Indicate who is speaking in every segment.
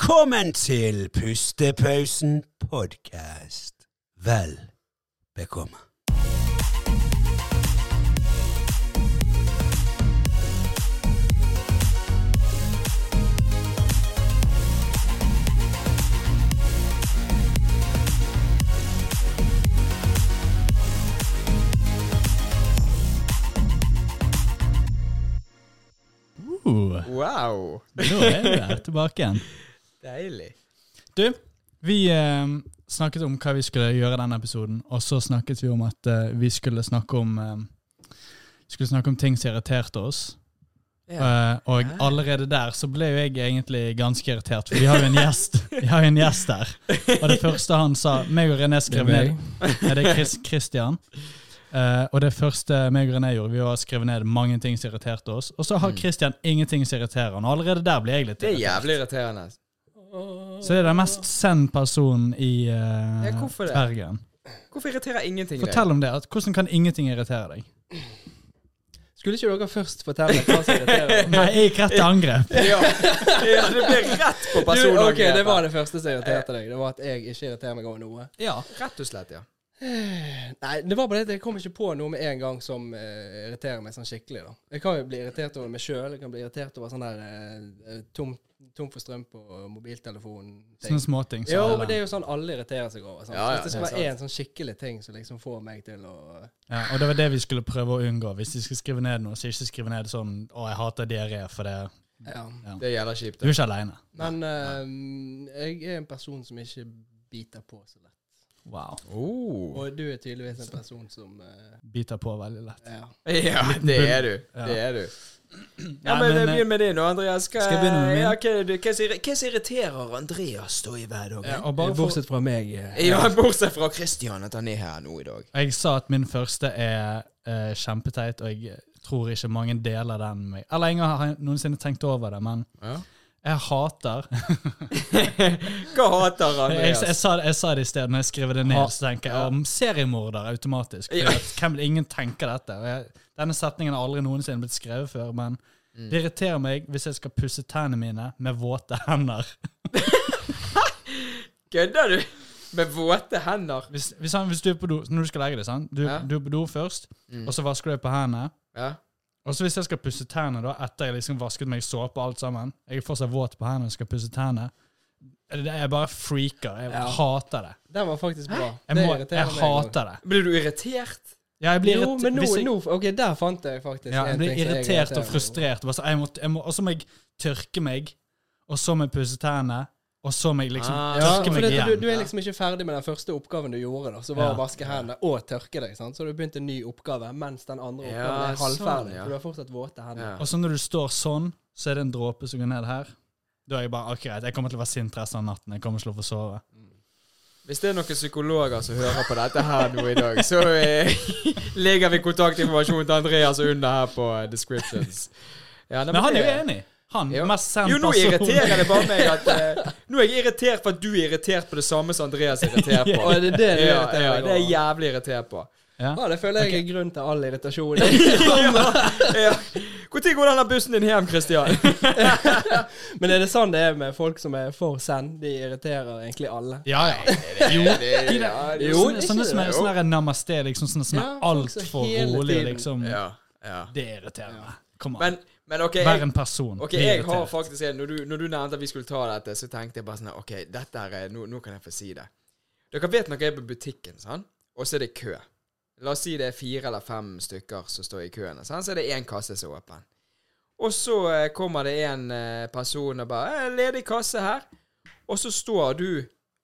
Speaker 1: Velkommen til Pustepausen podkast. Vel bekomme.
Speaker 2: Uh,
Speaker 3: Wow.
Speaker 2: da er vi der, tilbake igjen.
Speaker 3: Deilig.
Speaker 2: Du, vi eh, snakket om hva vi skulle gjøre i denne episoden, og så snakket vi om at eh, vi skulle snakke om eh, skulle snakke om ting som irriterte oss. Eh, og
Speaker 3: Ja.
Speaker 2: allerede der så ble jo jeg egentlig ganske irritert, for vi har jo en gjest Vi har jo en gjest der. Og det første han sa meg og René skrev ned Nei, det er Chris, Christian. Eh, og det første meg og René gjorde, vi har skrevet ned mange ting som irriterte oss. Og så har Christian ingenting som irriterer han, og allerede der blir jeg litt
Speaker 3: Mm. Det er
Speaker 2: irritert.
Speaker 3: jævlig irriterende.
Speaker 2: Så det er den mest send personen i eh,
Speaker 3: Ja, hvorfor det?
Speaker 2: Bergen.
Speaker 3: Hvorfor irriterer ingenting
Speaker 2: Fortell om det. At hvordan kan ingenting irritere deg?
Speaker 4: Skulle ikke dere først fortelle hva som irriterer?
Speaker 2: Nei, jeg gikk rett til angrep.
Speaker 3: deg? Ja. ja, det blir rett på
Speaker 4: Du,
Speaker 3: personangrepet.
Speaker 4: ok, Det var det første som irriterte deg. Det var At jeg ikke irriterer meg over noe.
Speaker 2: Ja.
Speaker 3: Rett og slett, ja.
Speaker 4: Nei, det var bare det at jeg kom ikke på noe med en gang som eh, irriterer meg sånn skikkelig. da. Jeg kan jo bli irritert over meg sjøl. Jeg kan bli irritert over sånn der eh, tom, tom for strøm på mobiltelefonen.
Speaker 2: Sånne småting. så
Speaker 4: Jo,
Speaker 2: alle-
Speaker 4: men det er jo sånn alle irriterer seg over. sant?
Speaker 3: Ja, ja,
Speaker 4: Så Hvis det
Speaker 3: det
Speaker 4: skal
Speaker 3: er
Speaker 4: være én sånn skikkelig ting som liksom får meg til å
Speaker 2: ja, og det var det vi skulle prøve å unngå. Hvis de skulle skrive ned noe, så ikke skrive ned sånn 'Å, jeg hater diaré', for det
Speaker 4: Ja.
Speaker 3: Det er jævla kjipt.
Speaker 2: Du er ikke aleine.
Speaker 4: Men eh, jeg er en person som ikke biter på så lett.
Speaker 2: Wow.
Speaker 3: Oh.
Speaker 4: Og du er tydeligvis en person som eh,
Speaker 2: Biter på veldig lett.
Speaker 4: ja.
Speaker 3: Ja, det er du. Det er du.
Speaker 2: Nei,
Speaker 3: Ja, men eh,
Speaker 2: men,
Speaker 3: Begynn med din, og Andreas. Hva
Speaker 2: Skal jeg begynne med min?
Speaker 3: ja, hva er det du- hva som irri- hva som irriterer Andreas da i hverdagen?
Speaker 2: Ja, og bare for,
Speaker 4: Bortsett fra meg. eh,
Speaker 3: Ja, bortsett fra Christian, at han er her nå i dag.
Speaker 2: jeg sa at min første er eh, kjempeteit, og jeg tror ikke mange deler den med meg. Eller ingen har noensinne tenkt over det, men
Speaker 3: Ja.
Speaker 2: jeg hater
Speaker 3: Hva hater
Speaker 2: Eh, jeg, jeg, jeg,
Speaker 3: Andreas?
Speaker 2: sa, det- jeg sa det i sted, når jeg skrev det ned,
Speaker 4: Ha-
Speaker 2: så tenker jeg om seriemorder automatisk. For
Speaker 3: Ja.
Speaker 2: at hvem, ingen tenker dette. Og jeg, denne setningen har aldri noensinne blitt skrevet før, men
Speaker 4: Mm.
Speaker 2: det irriterer meg hvis jeg skal pusse tennene mine med våte hender.
Speaker 3: Kødder du? Med våte hender?
Speaker 2: Hvis, hvis, han, hvis du er på do, når du skal legge deg, sant? Du,
Speaker 3: Ja.
Speaker 2: du er på do først,
Speaker 4: Mm.
Speaker 2: og så vasker du deg på hendene.
Speaker 3: Ja.
Speaker 2: Og så hvis jeg skal pusse tennene da, etter jeg liksom vasket meg i såpe og alt sammen Jeg er fortsatt våt på hendene og skal pusse tennene. Det- det- Jeg bare freaker. Jeg
Speaker 4: Ja.
Speaker 2: hater det.
Speaker 4: Den var faktisk bra.
Speaker 2: Jeg,
Speaker 4: Det
Speaker 2: må,
Speaker 4: irriterer
Speaker 2: jeg
Speaker 4: meg
Speaker 2: hater det.
Speaker 3: Blir du irritert?
Speaker 2: Ja, jeg blir
Speaker 4: Jo,
Speaker 2: irrit-
Speaker 4: men nå,
Speaker 2: hvis jeg,
Speaker 4: nå Ok, der fant jeg faktisk
Speaker 2: ja, jeg
Speaker 4: en
Speaker 2: blir
Speaker 4: ting som jeg
Speaker 2: irritert og
Speaker 4: irriterer meg over.
Speaker 2: frustrert. Bare så, jeg må, jeg må, og så må jeg tørke meg, og så må jeg pusse tennene, og så må jeg liksom
Speaker 3: Ah.
Speaker 4: Ja,
Speaker 2: tørke
Speaker 4: for
Speaker 2: meg
Speaker 4: det,
Speaker 2: igjen.
Speaker 4: du, du er liksom ikke ferdig med den første oppgaven du gjorde, da, som var
Speaker 2: Ja.
Speaker 4: å vaske hendene og tørke deg. sant? Så har du begynt en ny oppgave, mens den andre
Speaker 3: Ja,
Speaker 4: oppgaven er halvferdig.
Speaker 3: sånn, ja.
Speaker 4: For du har fortsatt våte hender.
Speaker 3: Ja.
Speaker 2: Og så når du står sånn, så er det en dråpe som går ned her. Da er jeg bare ok, greit, jeg kommer til å være sint resten av natten. Jeg kommer ikke til å få sove.
Speaker 3: Hvis det er noen psykologer som hører på dette her nå i dag, så eh, legger vi kontaktinformasjon til Andreas under her på eh, descriptions. Ja, nei,
Speaker 2: Men han er jo
Speaker 3: det-
Speaker 2: enig. Han,
Speaker 3: Ja.
Speaker 2: mest send
Speaker 3: Jo, nå
Speaker 2: person.
Speaker 3: irriterer det bare meg at eh, Nå er jeg irritert for at du er irritert på det samme som Andreas er irritert på.
Speaker 4: Og det er det du
Speaker 3: ja,
Speaker 4: irriterer
Speaker 3: ja,
Speaker 4: deg
Speaker 3: det er jeg
Speaker 4: over.
Speaker 3: jævlig irritert på.
Speaker 2: Ja.
Speaker 4: Ja, det føler jeg er grunn til all irritasjon.
Speaker 3: Ja. Når går denne bussen din hjem, Christian?
Speaker 4: Men er det sånn det er med folk som er for send? De irriterer egentlig alle.
Speaker 2: Ja, ja. Jo, de der,
Speaker 3: det-
Speaker 2: jo sånne, sånne
Speaker 4: det er ikke
Speaker 2: som er
Speaker 3: det, jo. sånn.
Speaker 2: sånne der namaste, liksom, sånne som er
Speaker 4: Ja, folk som
Speaker 2: altfor
Speaker 4: hele
Speaker 2: rolig,
Speaker 4: tiden-
Speaker 2: liksom.
Speaker 3: Ja, ja.
Speaker 2: Det irriterer meg. Kom an.
Speaker 3: Men, men OK,
Speaker 2: Vær
Speaker 3: jeg,
Speaker 2: en person.
Speaker 3: ok,
Speaker 2: Bli
Speaker 3: jeg har
Speaker 2: irritert.
Speaker 3: faktisk en når du, når du nevnte at vi skulle ta dette, så tenkte jeg bare sånn OK, dette her er, nå, nå kan jeg få si det. Dere vet når jeg er på butikken, sånn, og så er det kø. La oss si det er fire eller fem stykker som står i køen. Sånn, så er det én kasse som er åpen. Og så eh, kommer det en eh, person og bare eh, 'Ledig kasse her.' Og så står du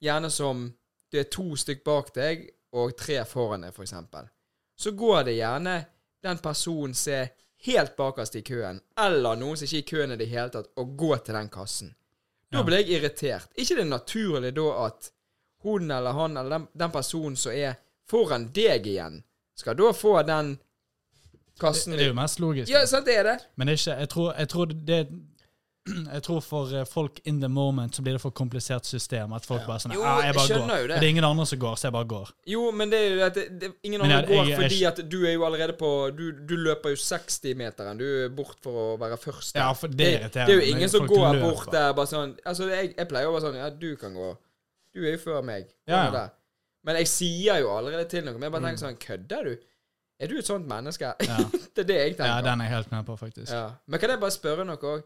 Speaker 3: gjerne som det er to stykk bak deg og tre foran deg, for eksempel. Så går det gjerne den personen som er helt bakerst i køen, eller noen som ikke er i køen i det hele tatt, og går til den kassen. Da
Speaker 2: Ja.
Speaker 3: blir jeg irritert. Ikke det er naturlig da at hun eller han eller den, den personen som er foran deg igjen, skal da få den
Speaker 2: Det
Speaker 3: kassen
Speaker 2: det er jo mest logisk.
Speaker 3: Ja, sant det er det.
Speaker 2: Men det er ikke, jeg tror, jeg tror det, Jeg tror for eh, folk in the moment så blir det for komplisert system. At folk bare sånn
Speaker 3: Jo,
Speaker 2: ah, jeg bare
Speaker 3: jeg
Speaker 2: går.
Speaker 3: skjønner jo det.
Speaker 2: Det er ingen andre som går, så jeg bare går.
Speaker 3: Jo, men det er jo at det, det, ingen
Speaker 2: Men
Speaker 3: andre
Speaker 2: jeg-
Speaker 3: går
Speaker 2: jeg- jeg-
Speaker 3: fordi at du er jo allerede på Du, du løper jo 60-meteren du er bort for å være først. der.
Speaker 2: Ja, for det irriterer
Speaker 3: det er jo
Speaker 2: meg,
Speaker 3: ingen
Speaker 2: når
Speaker 3: som
Speaker 2: folk
Speaker 3: går
Speaker 2: løper.
Speaker 3: bort der bare sånn Altså, jeg, jeg pleier å være sånn Ja, du kan gå. Du er jo før meg. Gå
Speaker 2: Ja, Mm. ja.
Speaker 3: nå der. Men jeg sier jo allerede til noe. Men jeg bare tenker sånn Kødder du? Er du et sånt menneske?
Speaker 2: Ja.
Speaker 3: det er det jeg
Speaker 2: Ja,
Speaker 3: tenker.
Speaker 2: den er jeg helt med på, faktisk. Ja,
Speaker 3: Ja. Men kan jeg bare spørre noe òg?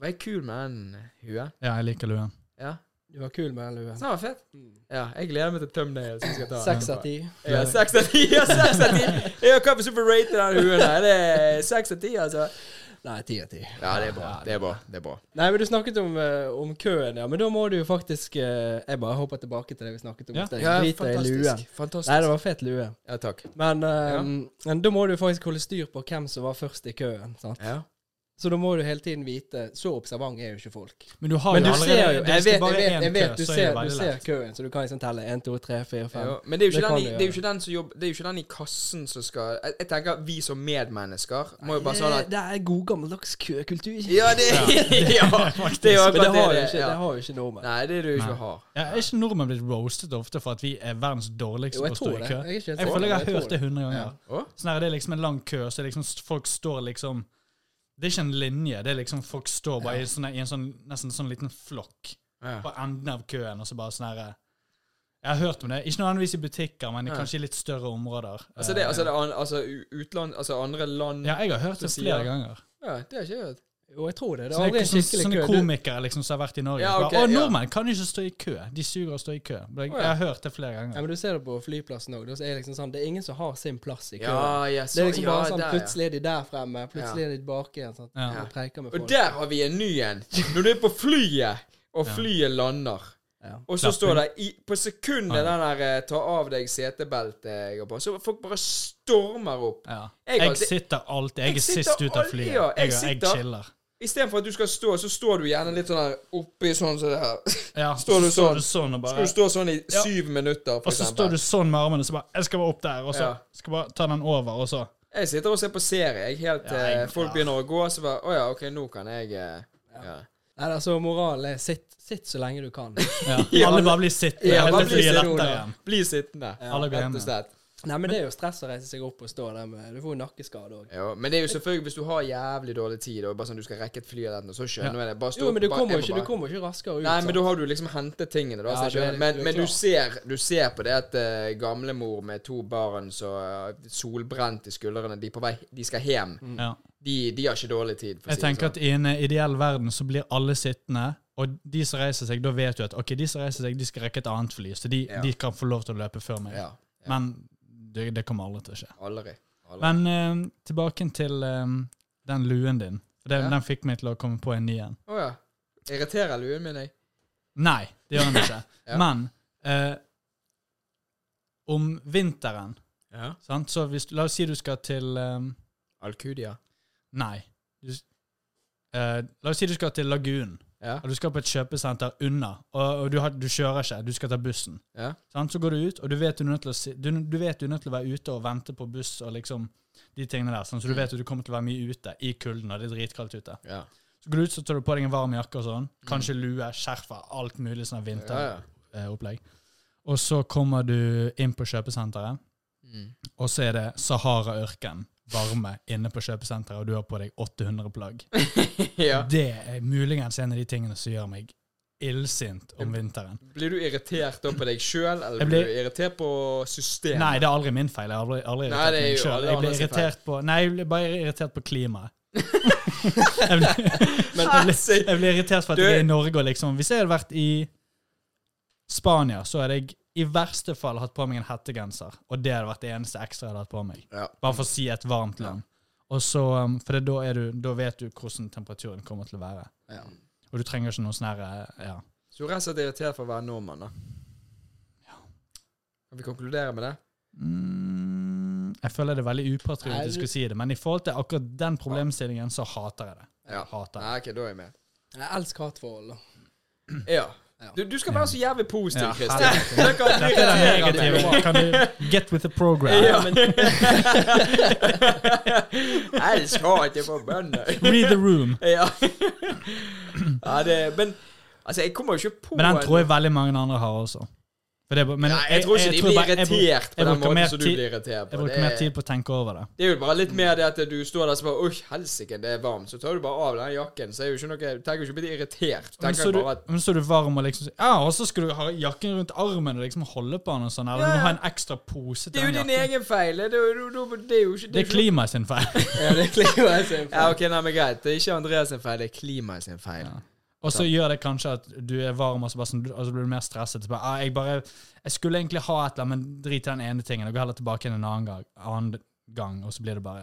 Speaker 3: Var jeg kul med den huen?
Speaker 2: jeg liker luen.
Speaker 3: Ja.
Speaker 4: Du var kul med den luen.
Speaker 3: Den var fett. Ja, jeg gleder meg til thumbnails jeg skal ta.
Speaker 4: Mm. Seks av ti.
Speaker 3: Ja, seks av ti! Ja, seks av ti! Ja, Hva hvis du får rate den huen her? Det er seks av ti, altså.
Speaker 4: Nei, ti av ti.
Speaker 3: Ja, det er bra. Det er bra. Det er bra.
Speaker 4: Nei, men Du snakket om, eh, om køen, ja. Men da må du jo faktisk eh, Jeg bare hopper tilbake til det vi snakket om
Speaker 2: Ja.
Speaker 4: i sted. Drit deg i luen.
Speaker 3: Fantastisk.
Speaker 4: Nei, det var fet lue.
Speaker 3: Ja, takk.
Speaker 4: Men, eh, men da må du jo faktisk holde styr på hvem som var først i køen. sant?
Speaker 3: Ja.
Speaker 4: Så da må du hele tiden vite Så observant er jo ikke folk.
Speaker 2: Men du har
Speaker 4: Men
Speaker 2: jo
Speaker 4: du
Speaker 2: allerede
Speaker 4: ser jo
Speaker 2: hvis
Speaker 4: Jeg
Speaker 2: det
Speaker 4: vet,
Speaker 2: bare
Speaker 4: jeg
Speaker 2: er
Speaker 4: vet,
Speaker 2: en
Speaker 4: jeg
Speaker 2: kø,
Speaker 4: vet du
Speaker 2: så er det
Speaker 4: ser, du
Speaker 2: veldig
Speaker 4: ser
Speaker 2: lett.
Speaker 4: køen, så du kan liksom telle 1, 2, 3, 4, 5.
Speaker 3: Jo, men det er, jo
Speaker 4: Det
Speaker 3: ikke den, i- det er
Speaker 4: kan du
Speaker 3: jo
Speaker 4: gjøre.
Speaker 3: ikke den som jobber Det er jo ikke den i kassen som skal Jeg, jeg tenker vi som medmennesker må jo bare sånn at
Speaker 4: Det er god gammeldags køkultur.
Speaker 3: Ja, det Ja, det er jo
Speaker 4: Men det
Speaker 3: akkurat
Speaker 4: har jo
Speaker 3: det.
Speaker 4: ikke,
Speaker 3: ja.
Speaker 4: det har jo ikke nordmenn.
Speaker 3: Nei, det er det jo ikke
Speaker 2: Nei.
Speaker 3: har.
Speaker 2: Ja, er ikke nordmenn blitt roastet ofte for at vi er verdens dårligste på
Speaker 4: Jo, jeg
Speaker 2: å stå
Speaker 4: tror
Speaker 2: i
Speaker 4: det.
Speaker 2: kø?
Speaker 4: Jeg er ikke helt
Speaker 2: Jeg
Speaker 4: sikker,
Speaker 2: føler jeg
Speaker 4: men
Speaker 2: har
Speaker 4: tror
Speaker 2: hørt det hundre ganger.
Speaker 3: Å?
Speaker 2: Sånn her, det er liksom en lang kø, så er det liksom s- folk står liksom Det er ikke en linje, det er liksom folk står bare i, sånne, i en sånn, nesten sånn liten flokk på enden av køen, og så bare sånn her Jeg har hørt om det. Ikke nødvendigvis i butikker, men i
Speaker 3: Ja.
Speaker 2: kanskje i litt større områder. Eh,
Speaker 3: Altså, det, altså, det, an- altså u- utland Altså andre land
Speaker 2: ja, jeg har hørt
Speaker 3: Du
Speaker 2: det
Speaker 3: sier-
Speaker 2: flere ganger.
Speaker 3: Ja, det har ikke jeg hørt.
Speaker 4: Jo, jeg tror det. Det er aldri
Speaker 2: Sånne,
Speaker 4: en
Speaker 2: sånne,
Speaker 4: skikkelig
Speaker 2: sånne
Speaker 4: kø. Du-
Speaker 2: komikere liksom, som har vært i Norge.
Speaker 3: Ja,
Speaker 2: som
Speaker 3: ok,
Speaker 2: bare, Å,
Speaker 3: ja.
Speaker 2: nordmenn kan jo ikke stå i kø. De suger å stå i kø. Jeg, jeg
Speaker 3: ja.
Speaker 2: har hørt det flere
Speaker 4: Ja,
Speaker 2: ganger.
Speaker 4: men Du ser det på flyplassen òg. Det er liksom sånn, det er ingen som har sin plass i køen.
Speaker 3: Ja, ja, så,
Speaker 4: det er liksom
Speaker 3: ja,
Speaker 4: bare sånn,
Speaker 3: der, ja.
Speaker 4: Plutselig er de der fremme, plutselig er de bak igjen. Sånn,
Speaker 2: Ja.
Speaker 4: og preiker med
Speaker 3: Og
Speaker 4: folk.
Speaker 3: der har vi en ny en. Når du er på flyet, og flyet lander.
Speaker 4: Ja.
Speaker 3: Og så står det i, På sekundet den der eh, 'ta av deg setebeltet' går på, så folk bare stormer opp.
Speaker 2: Ja.
Speaker 3: Jeg
Speaker 2: Jeg,
Speaker 3: har alltid-
Speaker 2: sitter alltid Jeg
Speaker 3: Jeg
Speaker 2: er sist
Speaker 3: sitter
Speaker 2: ut av
Speaker 3: alltid,
Speaker 2: flyet.
Speaker 3: ja.
Speaker 2: Jeg,
Speaker 3: Jeg
Speaker 2: jeg,
Speaker 3: sitter-
Speaker 2: chiller.
Speaker 3: Istedenfor at du skal stå, så står du gjerne litt sånn her oppi sånn som det her.
Speaker 2: Ja,
Speaker 3: Står du
Speaker 2: så står
Speaker 3: sånn?
Speaker 2: du sånn og bare
Speaker 3: Skal du stå sånn i
Speaker 2: Ja.
Speaker 3: syv minutter, for
Speaker 2: Og så står
Speaker 3: eksempel.
Speaker 2: du sånn med armene, så bare Jeg skal bare opp der, og så
Speaker 3: Ja.
Speaker 2: skal bare ta den over, og så
Speaker 3: Jeg sitter og ser på serie, jeg. Helt til
Speaker 2: Ja, jeg-
Speaker 3: folk
Speaker 2: ja.
Speaker 3: begynner å gå, så bare Å ja, OK, nå kan jeg eh, ja.
Speaker 4: Nei, altså, moralen er sitt, sitt så lenge du kan.
Speaker 2: ja.
Speaker 3: Ja,
Speaker 2: Alle
Speaker 3: men-
Speaker 2: bare blir sittende.
Speaker 3: Ja,
Speaker 2: Ja,
Speaker 3: bare
Speaker 2: hele
Speaker 3: bli
Speaker 2: flyet
Speaker 3: sittende.
Speaker 2: letter igjen.
Speaker 3: Bli sittende.
Speaker 2: Alle blir
Speaker 3: Rett og
Speaker 2: hjemme.
Speaker 3: slett.
Speaker 4: Nei, men det er jo stress å reise seg opp og stå der med Du får jo nakkeskade òg.
Speaker 3: Jo, men det er jo selvfølgelig hvis du har jævlig dårlig tid, og bare sånn du skal rekke et fly eller noe, så skjønner jeg det. Bare stå
Speaker 4: Jo, men du
Speaker 3: bare-
Speaker 4: kommer jo
Speaker 3: jeg må
Speaker 4: ikke,
Speaker 3: bare-
Speaker 4: du kommer jo ikke raskere ut.
Speaker 3: Nei, men
Speaker 4: sant?
Speaker 3: da har du liksom hentet tingene, da.
Speaker 4: Ja,
Speaker 3: så jeg
Speaker 4: du er-
Speaker 3: skjønner. men
Speaker 4: du er
Speaker 3: men du,
Speaker 4: klar.
Speaker 3: ser, du ser på det at uh, gamlemor med to barn så eh, solbrent i skuldrene, de, er på vei, de skal hjem.
Speaker 4: Mm.
Speaker 2: Ja.
Speaker 3: De, de har ikke dårlig tid, for å
Speaker 2: Jeg
Speaker 3: si det
Speaker 2: tenker at
Speaker 3: sånn.
Speaker 2: i en eh, ideell verden så blir alle sittende, og de som reiser seg, da vet du at ok, de som reiser seg, de skal rekke et annet fly, så de,
Speaker 3: Ja.
Speaker 2: de kan få lov til å løpe før meg.
Speaker 3: Ja. ja.
Speaker 2: Men det, det kommer aldri til å skje.
Speaker 3: Aldri. Aldri.
Speaker 2: Men eh, tilbake til eh, den luen din. Den,
Speaker 3: Ja.
Speaker 2: den fikk meg til å komme på en ny en.
Speaker 3: Å ja. Irriterer luen min, jeg.
Speaker 2: Nei, det gjør den ikke.
Speaker 3: Ja.
Speaker 2: Men eh, om vinteren
Speaker 3: Ja.
Speaker 2: sant? Så hvis, La oss si du skal til eh,
Speaker 3: Alcudia.
Speaker 2: Nei. Du, s- eh, la oss si du skal til Lagunen,
Speaker 3: Ja.
Speaker 2: og du skal på et kjøpesenter unna. Og, og du, har, du kjører ikke, du skal ta bussen.
Speaker 3: Ja.
Speaker 2: Sant? Så går du ut, og du vet du er nødt til å, si, du, du vet du er nødt til å være ute og vente på buss og liksom de tingene der. Sånn, så du
Speaker 3: Mm.
Speaker 2: vet at du kommer til å være mye ute i kulden, og det er dritkaldt ute.
Speaker 3: Ja.
Speaker 2: Så går du ut, så tar du på deg en varm jakke og sånn. Kanskje lue, skjerfer, alt mulig sånn
Speaker 3: Mm. Ja,
Speaker 2: vinteropplegg.
Speaker 3: ja.
Speaker 2: Eh, opplegg. og så kommer du inn på kjøpesenteret.
Speaker 3: Mm.
Speaker 2: Og så er det Sahara-ørken, varme, inne på kjøpesenteret, og du har på deg 800 plagg.
Speaker 3: ja.
Speaker 2: Det er muligens en av de tingene som gjør meg illsint om vinteren.
Speaker 3: Blir du irritert da på deg sjøl, eller
Speaker 2: Jeg
Speaker 3: blir du
Speaker 2: blir-
Speaker 3: irritert på systemet?
Speaker 2: Nei, det er aldri min feil. Jeg har aldri, aldri irritert
Speaker 3: Nei, det er
Speaker 2: meg
Speaker 3: jo alle
Speaker 2: sjøl. Jeg
Speaker 3: andre
Speaker 2: blir
Speaker 3: sin feil.
Speaker 2: irritert på Nei, jeg blir bare irritert på klimaet. jeg, blir, jeg, blir,
Speaker 3: Altså,
Speaker 2: jeg blir irritert for at
Speaker 3: Du-
Speaker 2: jeg er i Norge og liksom Hvis jeg hadde vært i Spania, så hadde jeg i verste fall hatt på meg en hettegenser, og det hadde vært det eneste ekstra jeg hadde hatt på meg.
Speaker 3: Ja.
Speaker 2: Bare for å si et varmt land. Og så, um, For det, da, er du, da vet du hvordan temperaturen kommer til å være.
Speaker 4: Ja.
Speaker 2: Og du trenger ikke noe sånn her eh, ja.
Speaker 3: Så du er rett og slett irritert for å være nordmann, da? Kan vi konkludere med det?
Speaker 2: mm, Jeg føler det er veldig
Speaker 4: Nei,
Speaker 2: upatriotisk
Speaker 4: du-
Speaker 2: å si det, men i forhold til akkurat den problemstillingen, så hater jeg det.
Speaker 3: Ja.
Speaker 2: Jeg hater det.
Speaker 3: Nei, ok, da er jeg med.
Speaker 4: Jeg elsker hatforhold, da.
Speaker 3: Ja. Du, du skal være så jævlig positiv,
Speaker 2: Ja,
Speaker 3: Kristin.
Speaker 2: herregud.
Speaker 3: Dere kan
Speaker 2: Dette er
Speaker 3: irritere meg.
Speaker 2: det negative. Kan du get with the program?
Speaker 3: Ja, men Jeg skal ikke på bønder.
Speaker 2: Read the room.
Speaker 3: Ja. ja det, men altså, jeg kommer jo ikke på
Speaker 2: Men den
Speaker 3: en-
Speaker 2: tror jeg veldig mange andre har også. For det, er bare- men
Speaker 3: Nei, jeg tror ikke de blir
Speaker 2: bare- jeg bru-
Speaker 3: irritert på
Speaker 2: jeg
Speaker 3: den
Speaker 2: bruker mer
Speaker 3: måten som du
Speaker 2: tid-
Speaker 3: blir irritert på.
Speaker 2: Jeg bruker
Speaker 3: Det
Speaker 2: mer
Speaker 3: er-
Speaker 2: tid på å tenke over det.
Speaker 3: Det er jo bare litt mer det at du står der og bare Oi, helsike, det er varmt. Så tar du bare av den jakken, så er jo ikke noe Du tenker jo ikke å bli irritert. Du
Speaker 2: Men
Speaker 3: tenker
Speaker 2: så,
Speaker 3: jo
Speaker 2: du,
Speaker 3: bare at
Speaker 2: men så er du varm og liksom Ja, og så skal du ha jakken rundt armen og liksom holde på den og sånn, eller
Speaker 3: Ja,
Speaker 2: du må
Speaker 3: ja.
Speaker 2: ha en ekstra pose
Speaker 3: Det
Speaker 2: til
Speaker 3: er jo
Speaker 2: den
Speaker 3: din
Speaker 2: jakken.
Speaker 3: egen feil. Det er jo, det er jo- det er jo ikke
Speaker 2: Det er
Speaker 3: jo ikke-
Speaker 2: klimaet sin feil.
Speaker 4: Ja, det klinger jeg seg for.
Speaker 3: Ja, ok, nei, men greit. Det er ikke Andreas sin feil, det er klimaet sin feil.
Speaker 2: Ja. Og så gjør det kanskje at du er varm, og så, bare sånn, og så blir du mer stresset. Så bare, ah, jeg, bare, jeg skulle egentlig ha et eller annet, men drit i den ene tingen. Og gå heller tilbake igjen en annen gang, annen gang og så blir det bare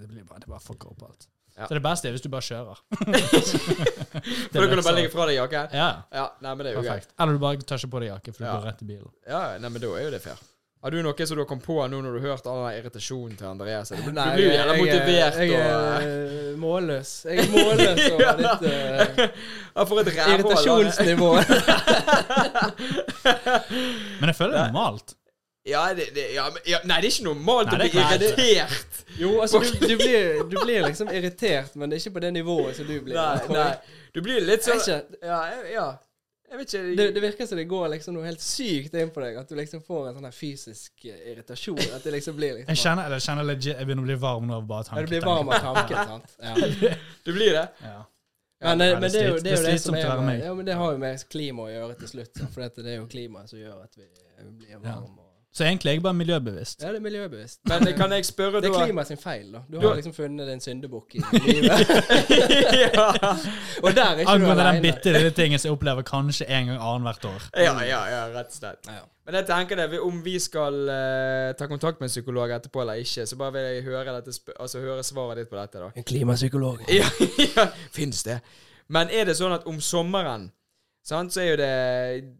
Speaker 2: Det, blir bare, det bare fucker opp alt.
Speaker 3: Ja.
Speaker 2: Så det beste er hvis du bare kjører.
Speaker 3: For da kan du bare legge fra deg jakken.
Speaker 2: Ja,
Speaker 3: Ja, nei, men det er jo greit.
Speaker 2: perfekt. Eller du bare tar ikke på deg jakke, for du
Speaker 3: Ja.
Speaker 2: går rett i bilen.
Speaker 3: Ja, nei, men da er jo det fair. Har du noe som du har kommet på nå når du har hørt all den irritasjonen til Andreas? Du, du
Speaker 4: Nei,
Speaker 3: blir jo gjerne
Speaker 4: jeg-
Speaker 3: motivert
Speaker 4: Jeg, jeg
Speaker 3: og eh,
Speaker 4: er eh, målløs. Jeg er målløs
Speaker 3: Ja.
Speaker 4: over ditt eh,
Speaker 3: Ja, for et rævhål. han er.
Speaker 4: irritasjonsnivå.
Speaker 2: Men jeg føler det er normalt.
Speaker 3: Ja, det, det, ja, men, ja, nei, det er ikke normalt
Speaker 2: Nei,
Speaker 3: å
Speaker 2: det er
Speaker 3: bli
Speaker 2: klart.
Speaker 3: irritert.
Speaker 4: Jo, altså, du, du, blir, du blir liksom irritert, men det er ikke på det nivået som du blir.
Speaker 3: Nei, nei. Du blir litt
Speaker 4: Jeg
Speaker 3: sånn
Speaker 4: vet ikke.
Speaker 3: Ja, jeg- ja. Jeg vet ikke
Speaker 4: Det, det virker som det går liksom noe helt sykt inn på deg, at du liksom får en sånn her fysisk eh, irritasjon. At det liksom blir liksom
Speaker 2: Jeg kjenner, eller jeg kjenner legit, jeg begynner å bli varm nå av bare tanken.
Speaker 4: Ja, du blir varm av tanken, sant. Ja.
Speaker 3: Du blir det?
Speaker 2: Ja.
Speaker 4: Men, eh,
Speaker 2: Ja, det er
Speaker 4: men det er jo
Speaker 2: slits-
Speaker 4: det, er
Speaker 2: det
Speaker 4: jo
Speaker 2: er
Speaker 4: det som
Speaker 2: slitsomt å
Speaker 4: er
Speaker 2: være
Speaker 4: med,
Speaker 2: meg.
Speaker 4: ja, men det har jo med klima å gjøre til slutt. sant, For dette- det er jo klimaet som gjør at vi eh, blir varme. og-
Speaker 2: Så egentlig er jeg bare miljøbevisst.
Speaker 4: Ja, det er miljøbevisst.
Speaker 3: Men eh, kan jeg spørre,
Speaker 4: Det
Speaker 3: da
Speaker 4: er klimaet sin feil, da. Du
Speaker 3: Du
Speaker 4: har
Speaker 3: har-
Speaker 4: liksom funnet din syndebukk i livet.
Speaker 3: ja.
Speaker 4: Og der er ikke du
Speaker 2: Angående den
Speaker 4: aleine.
Speaker 2: bitte lille tingen som jeg opplever kanskje en gang annethvert år.
Speaker 3: ja, ja, ja, rett og slett.
Speaker 4: Ja.
Speaker 3: Men jeg tenker det, om vi skal eh, ta kontakt med en psykolog etterpå eller ikke, så bare vil jeg høre, dette, sp- altså, høre svaret ditt på dette, da.
Speaker 4: En klimapsykolog.
Speaker 3: Ja, ja. Fins det? Men er det sånn at om sommeren sant, så er jo det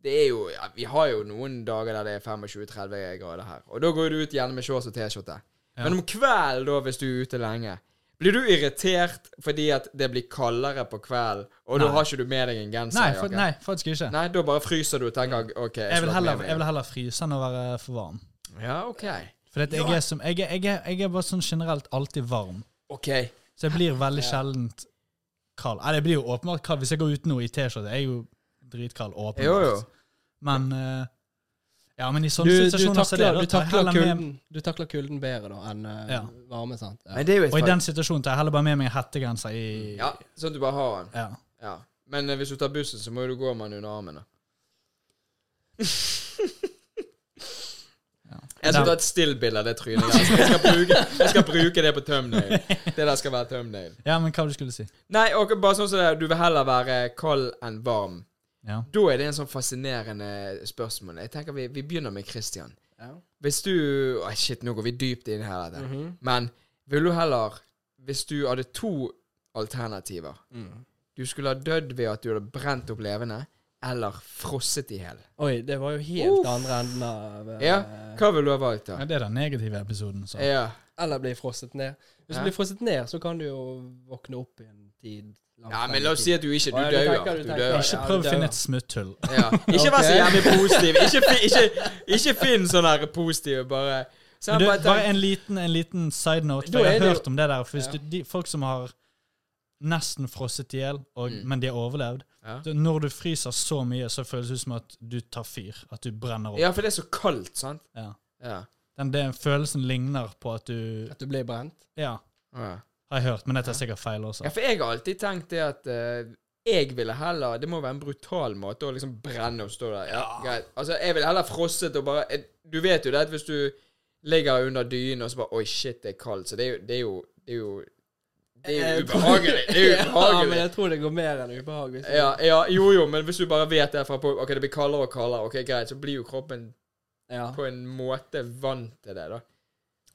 Speaker 3: Det er jo ja, Vi har jo noen dager der det er 25-30 grader her. Og da går du ut gjerne med shorts og T-skjorte.
Speaker 2: Ja.
Speaker 3: Men om kvelden, da, hvis du er ute lenge blir du irritert fordi at det blir kaldere på kvelden, og da
Speaker 2: Nei.
Speaker 3: har ikke du med deg en genser?
Speaker 2: Nei,
Speaker 3: Jakob?
Speaker 2: fa- nei faktisk ikke.
Speaker 3: Nei, da bare fryser du og tenker OK.
Speaker 2: Jeg vil
Speaker 3: skulle hatt
Speaker 2: heller,
Speaker 3: med
Speaker 2: jeg
Speaker 3: meg
Speaker 2: vil heller fryse enn å være for varm.
Speaker 3: en.» Ja, OK.
Speaker 2: For at jeg, er som, jeg, er, jeg, er, jeg er bare sånn generelt alltid varm.
Speaker 3: OK.
Speaker 2: Så jeg blir veldig sjeldent kald. Eller jeg blir jo åpenbart kald hvis jeg går ut nå i T-skjorte. Jeg er jo dritkald, åpenbart.
Speaker 3: Jo, jo.
Speaker 2: Men eh, Ja, men i
Speaker 4: Du,
Speaker 2: sånne
Speaker 4: du
Speaker 2: situasjoner så er det
Speaker 4: takler,
Speaker 2: da
Speaker 4: du,
Speaker 2: tar jeg
Speaker 4: takler
Speaker 2: heller med-
Speaker 4: kulden, du takler kulden bedre da enn eh,
Speaker 2: Ja.
Speaker 4: varme, sant? Ja.
Speaker 3: Men det er jo et
Speaker 2: Og i
Speaker 3: faktum.
Speaker 2: den situasjonen tar jeg heller bare med meg en hettegenser i
Speaker 3: Ja, sånn at du bare har den.
Speaker 2: ja.
Speaker 3: Ja. Men eh, hvis du tar bussen, så må jo du gå med den under armen. da. Jeg skal ta et still-bilde av det trynet der. så Jeg skal bruke, jeg skal bruke det på thumbnail. Det der skal være thumbnail.
Speaker 2: ja, men hva du skulle si?
Speaker 3: Nei, og bare sånn som det er, du vil heller være kald enn varm.
Speaker 2: Ja.
Speaker 3: Da er det en sånn fascinerende spørsmål. Jeg tenker Vi, vi begynner med Christian.
Speaker 4: Ja. Mhm.
Speaker 3: Hvis du Åh, Shit, nå går vi dypt inn her. dette.
Speaker 2: Mhm.
Speaker 3: Men vil du heller Hvis du hadde to alternativer
Speaker 4: Mm.
Speaker 3: Du skulle ha dødd ved at du hadde brent opp levende, eller frosset i hjel.
Speaker 4: Oi, det var jo helt
Speaker 3: Uff.
Speaker 4: andre enden av eh,
Speaker 3: Ja, hva ville du ha valgt, da?
Speaker 2: ja, det er den negative episoden. Så.
Speaker 3: Ja.
Speaker 4: Eller bli frosset ned. Hvis
Speaker 3: Hæ?
Speaker 4: du blir frosset ned, så kan du jo våkne opp i en tid. langt
Speaker 3: ja,
Speaker 4: frem
Speaker 3: men
Speaker 4: i
Speaker 3: la oss si
Speaker 4: tid.
Speaker 3: at du ikke Du
Speaker 4: Å, ja, du
Speaker 3: dør.
Speaker 4: tenker- du
Speaker 3: Du
Speaker 4: tenker-
Speaker 3: dør.
Speaker 2: Ikke
Speaker 4: Ja,
Speaker 2: prøv å
Speaker 4: det er
Speaker 2: finne
Speaker 4: jo-
Speaker 2: et smutthull.
Speaker 3: Ja. Ikke vær så
Speaker 4: Ok.
Speaker 3: jævlig positiv. Ikke, fi- ikke, ikke finn sånn her positiv, bare Så
Speaker 2: Men
Speaker 3: jeg
Speaker 2: du,
Speaker 3: bare
Speaker 2: bare
Speaker 3: tenker
Speaker 2: en liten, en liten side note.
Speaker 4: Da
Speaker 2: For
Speaker 4: er
Speaker 2: jeg
Speaker 4: det
Speaker 2: har
Speaker 4: jo-
Speaker 2: hørt om det der. For hvis
Speaker 4: Ja.
Speaker 2: du, de, folk som har nesten frosset i hjel, og-
Speaker 3: Mm.
Speaker 2: men de har overlevd
Speaker 3: Ja.
Speaker 2: så Når du fryser så mye, så føles det ut som at du tar fyr. At du brenner opp.
Speaker 3: Ja, for det er så kaldt, sant?
Speaker 2: Ja.
Speaker 3: Ja.
Speaker 2: Den, den følelsen ligner på at du
Speaker 4: At du blir brent.
Speaker 2: Ja,
Speaker 3: ja.
Speaker 2: har jeg hørt, men jeg tar sikkert feil også.
Speaker 3: Ja, for jeg har alltid tenkt det at eh, jeg ville heller Det må være en brutal måte å liksom brenne og stå der. Ja, greit. Altså, jeg ville heller frosset og bare eh, Du vet jo det at hvis du ligger under dynen og så bare Oi, shit, det er kaldt. Så det er jo Det er jo, det er jo, det er jo
Speaker 4: Eh, Jeg tror-
Speaker 3: ubehagelig. Det er jo
Speaker 4: Ja, men
Speaker 3: ubehagelig.
Speaker 4: jeg tror det går mer enn ubehag. Hvis du-
Speaker 3: Ja, ja, jo, jo, men hvis du bare vet derfra på OK, det blir kaldere og kaldere, ok, greit, så blir jo kroppen
Speaker 4: Ja.
Speaker 3: på en måte vant til det, da.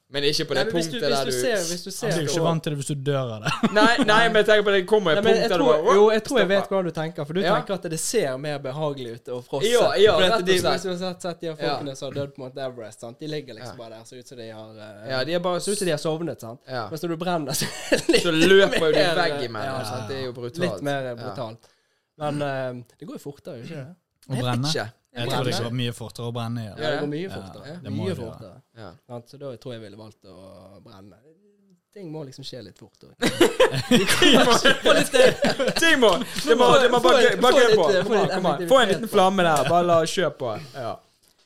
Speaker 3: Men ikke på
Speaker 4: Nei,
Speaker 3: det
Speaker 4: men hvis, du,
Speaker 3: punktet
Speaker 4: hvis
Speaker 3: der
Speaker 4: du
Speaker 3: du
Speaker 4: ser, hvis du ser
Speaker 2: Du er jo ikke
Speaker 4: på-
Speaker 2: vant til det hvis du dør av det.
Speaker 3: Nei, nei, men jeg tenker på det kommer
Speaker 4: Nei,
Speaker 3: et
Speaker 4: men
Speaker 3: punkt
Speaker 4: jeg
Speaker 3: der du
Speaker 4: tror,
Speaker 3: bare
Speaker 4: jo, jeg tror
Speaker 3: stopper.
Speaker 4: jeg vet hva du tenker, for du
Speaker 3: Ja.
Speaker 4: tenker at det ser mer behagelig ut å frosse.
Speaker 3: Ja, ja,
Speaker 4: For at
Speaker 3: rett og
Speaker 4: de-
Speaker 3: slett.
Speaker 4: Hvis du har sett, sett de her folkene som har dødd på Mount Everest, sant? de ligger liksom bare der, ser ut som de har eh,
Speaker 3: Ja, de er bare
Speaker 4: Ser ut som de har sovnet, sant.
Speaker 3: Ja.
Speaker 4: Mens når du brenner, så er det litt
Speaker 3: Så løper jo du
Speaker 4: mer,
Speaker 3: vegg imellom.
Speaker 4: ja,
Speaker 3: sant? Det er jo brutalt.
Speaker 4: Litt mer
Speaker 3: Ja.
Speaker 4: eh, brutalt. Men eh, det går jo fortere, ikke det?
Speaker 2: Å brenne?
Speaker 3: Jeg vet ikke.
Speaker 2: Jeg tror det
Speaker 4: Brenne?
Speaker 2: går mye fortere å brenne. Ja.
Speaker 4: Ja, det går mye
Speaker 2: Ja,
Speaker 4: fortere.
Speaker 2: det må
Speaker 4: mye
Speaker 2: det gjøre.
Speaker 4: fortere.
Speaker 3: Ja.
Speaker 4: Sant? Så da tror jeg jeg ville valgt å brenne. Ting må liksom skje litt fort òg.
Speaker 3: Ting må Det må, det må
Speaker 4: Få-
Speaker 3: bare,
Speaker 4: få
Speaker 3: bare gøy
Speaker 4: litt-
Speaker 3: på.
Speaker 4: få
Speaker 3: Kom an,
Speaker 4: litt
Speaker 3: kom an. Få en
Speaker 4: effektivitet
Speaker 3: liten
Speaker 4: på.
Speaker 3: flamme der. Bare la kjør på. Ja.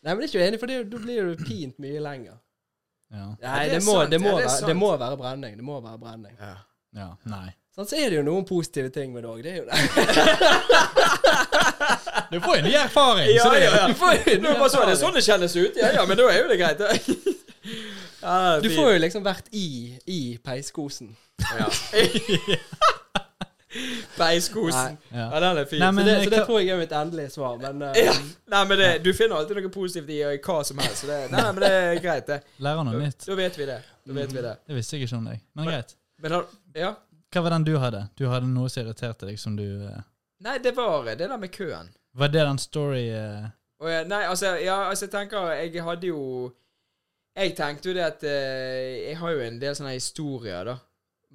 Speaker 4: Nei, men det er ikke enig, for det- da blir du pint mye lenger.
Speaker 2: Ja.
Speaker 4: Nei,
Speaker 3: det er
Speaker 4: det må,
Speaker 3: sant,
Speaker 4: det må,
Speaker 3: ja, det er
Speaker 4: være, det
Speaker 3: sant.
Speaker 4: må være brenning. Det må være brenning.
Speaker 3: Ja.
Speaker 2: ja. Nei.
Speaker 4: Sånn, så er det jo noen positive ting med det òg. Det er jo det.
Speaker 2: Du får jo ny erfaring!
Speaker 3: Ja,
Speaker 2: så det,
Speaker 3: ja, ja.
Speaker 4: Du får jo
Speaker 3: Nå bare så det er sånn det kjennes ut. Ja, ja, men da er jo det greit. Ja, det er
Speaker 4: Du
Speaker 3: fint.
Speaker 4: får jo liksom vært i, i peiskosen.
Speaker 3: ja. Beiskosen.
Speaker 2: Ja.
Speaker 3: Ja, den er fin.
Speaker 2: Nei,
Speaker 4: Så
Speaker 2: men eh,
Speaker 4: det, så
Speaker 2: hva-
Speaker 4: det tror jeg er mitt endelige svar. Men eh,
Speaker 3: ja. Nei, men det, du finner alltid noe positivt i hva som helst. Så det, nei, men det er greit, det.
Speaker 2: Lærer noe nytt.
Speaker 3: Da vet vi det. Da vet vi det.
Speaker 2: Det visste jeg ikke om deg. Men greit.
Speaker 3: Men har Ja.
Speaker 2: Hva var den du hadde? Du hadde noe som irriterte deg, som du eh,
Speaker 3: Nei, det var eh, det der med køen.
Speaker 2: Var det den story eh,
Speaker 3: Og jeg, nei, altså, ja, altså, jeg tenker Jeg hadde jo Jeg tenkte jo det at eh, Jeg har jo en del sånne historier, da.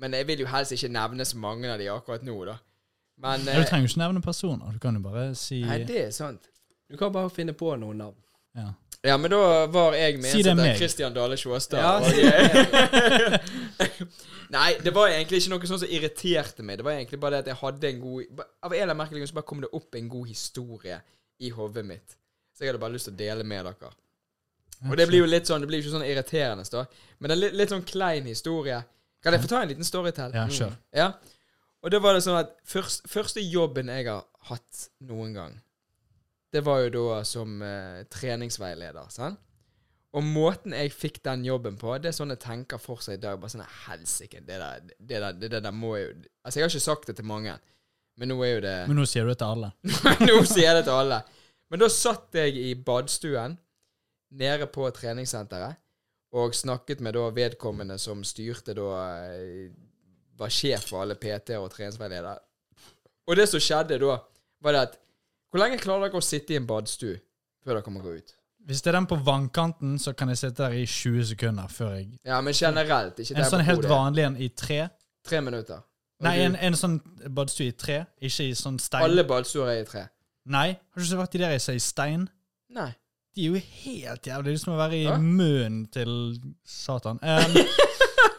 Speaker 3: Men jeg vil jo helst ikke nevne så mange av de akkurat nå, da. Men
Speaker 2: ja, Du
Speaker 3: eh,
Speaker 2: trenger jo ikke nevne personer. Du kan jo bare si
Speaker 3: Nei, det er sant.
Speaker 4: du kan bare finne på noen navn.
Speaker 2: ja.
Speaker 3: Ja, men da var jeg med
Speaker 2: Si det
Speaker 3: en som
Speaker 2: meg.
Speaker 3: heter Christian Dale Sjåstad.
Speaker 4: Ja,
Speaker 3: og-
Speaker 4: si det
Speaker 3: nei, det var egentlig ikke noe sånt som irriterte meg. Det var egentlig bare det at jeg hadde en god ba- Av en eller annen merkelig grunn så bare kom det opp en god historie i hodet mitt. Så jeg hadde bare lyst til å dele med dere. Og det blir jo litt sånn Det blir jo ikke sånn irriterende, da. Men det er litt, litt sånn klein historie. Kan jeg få ta en liten storytell?
Speaker 2: Ja, kjør.
Speaker 3: Ja. Og da var det sånn at først, første jobben jeg har hatt noen gang, det var jo da som eh, treningsveileder. Sant? Og måten jeg fikk den jobben på, det er sånn jeg tenker for seg i dag. Bare sånn Helsike, det der, det der, det der må jeg jo Altså, jeg har ikke sagt det til mange, men nå er jo det
Speaker 2: Men nå sier du det til alle.
Speaker 3: Nå sier jeg det til alle. Men da satt jeg i badstuen nede på treningssenteret og snakket med da vedkommende som styrte da eh, Var sjef for alle PT-er og treningsveiledere. Og det som skjedde da, var det at Hvor lenge klarer dere å sitte i en badstue før dere må gå ut?
Speaker 2: Hvis det er den på vannkanten, så kan jeg sitte der i 20 sekunder før jeg
Speaker 3: Ja, men generelt. Ikke
Speaker 2: En
Speaker 3: der
Speaker 2: sånn
Speaker 3: på
Speaker 2: helt
Speaker 3: hodet.
Speaker 2: vanlig en i tre.
Speaker 3: Tre minutter. Og
Speaker 2: Nei,
Speaker 3: du-
Speaker 2: en, en sånn badstue i tre, ikke i sånn stein.
Speaker 3: Alle badstuer er i tre.
Speaker 2: Nei, har du ikke vært i der jeg sier stein?
Speaker 3: Nei.
Speaker 2: De er jo helt jævlig. Det er som å være i
Speaker 3: Ja.
Speaker 2: munnen til Satan. Um,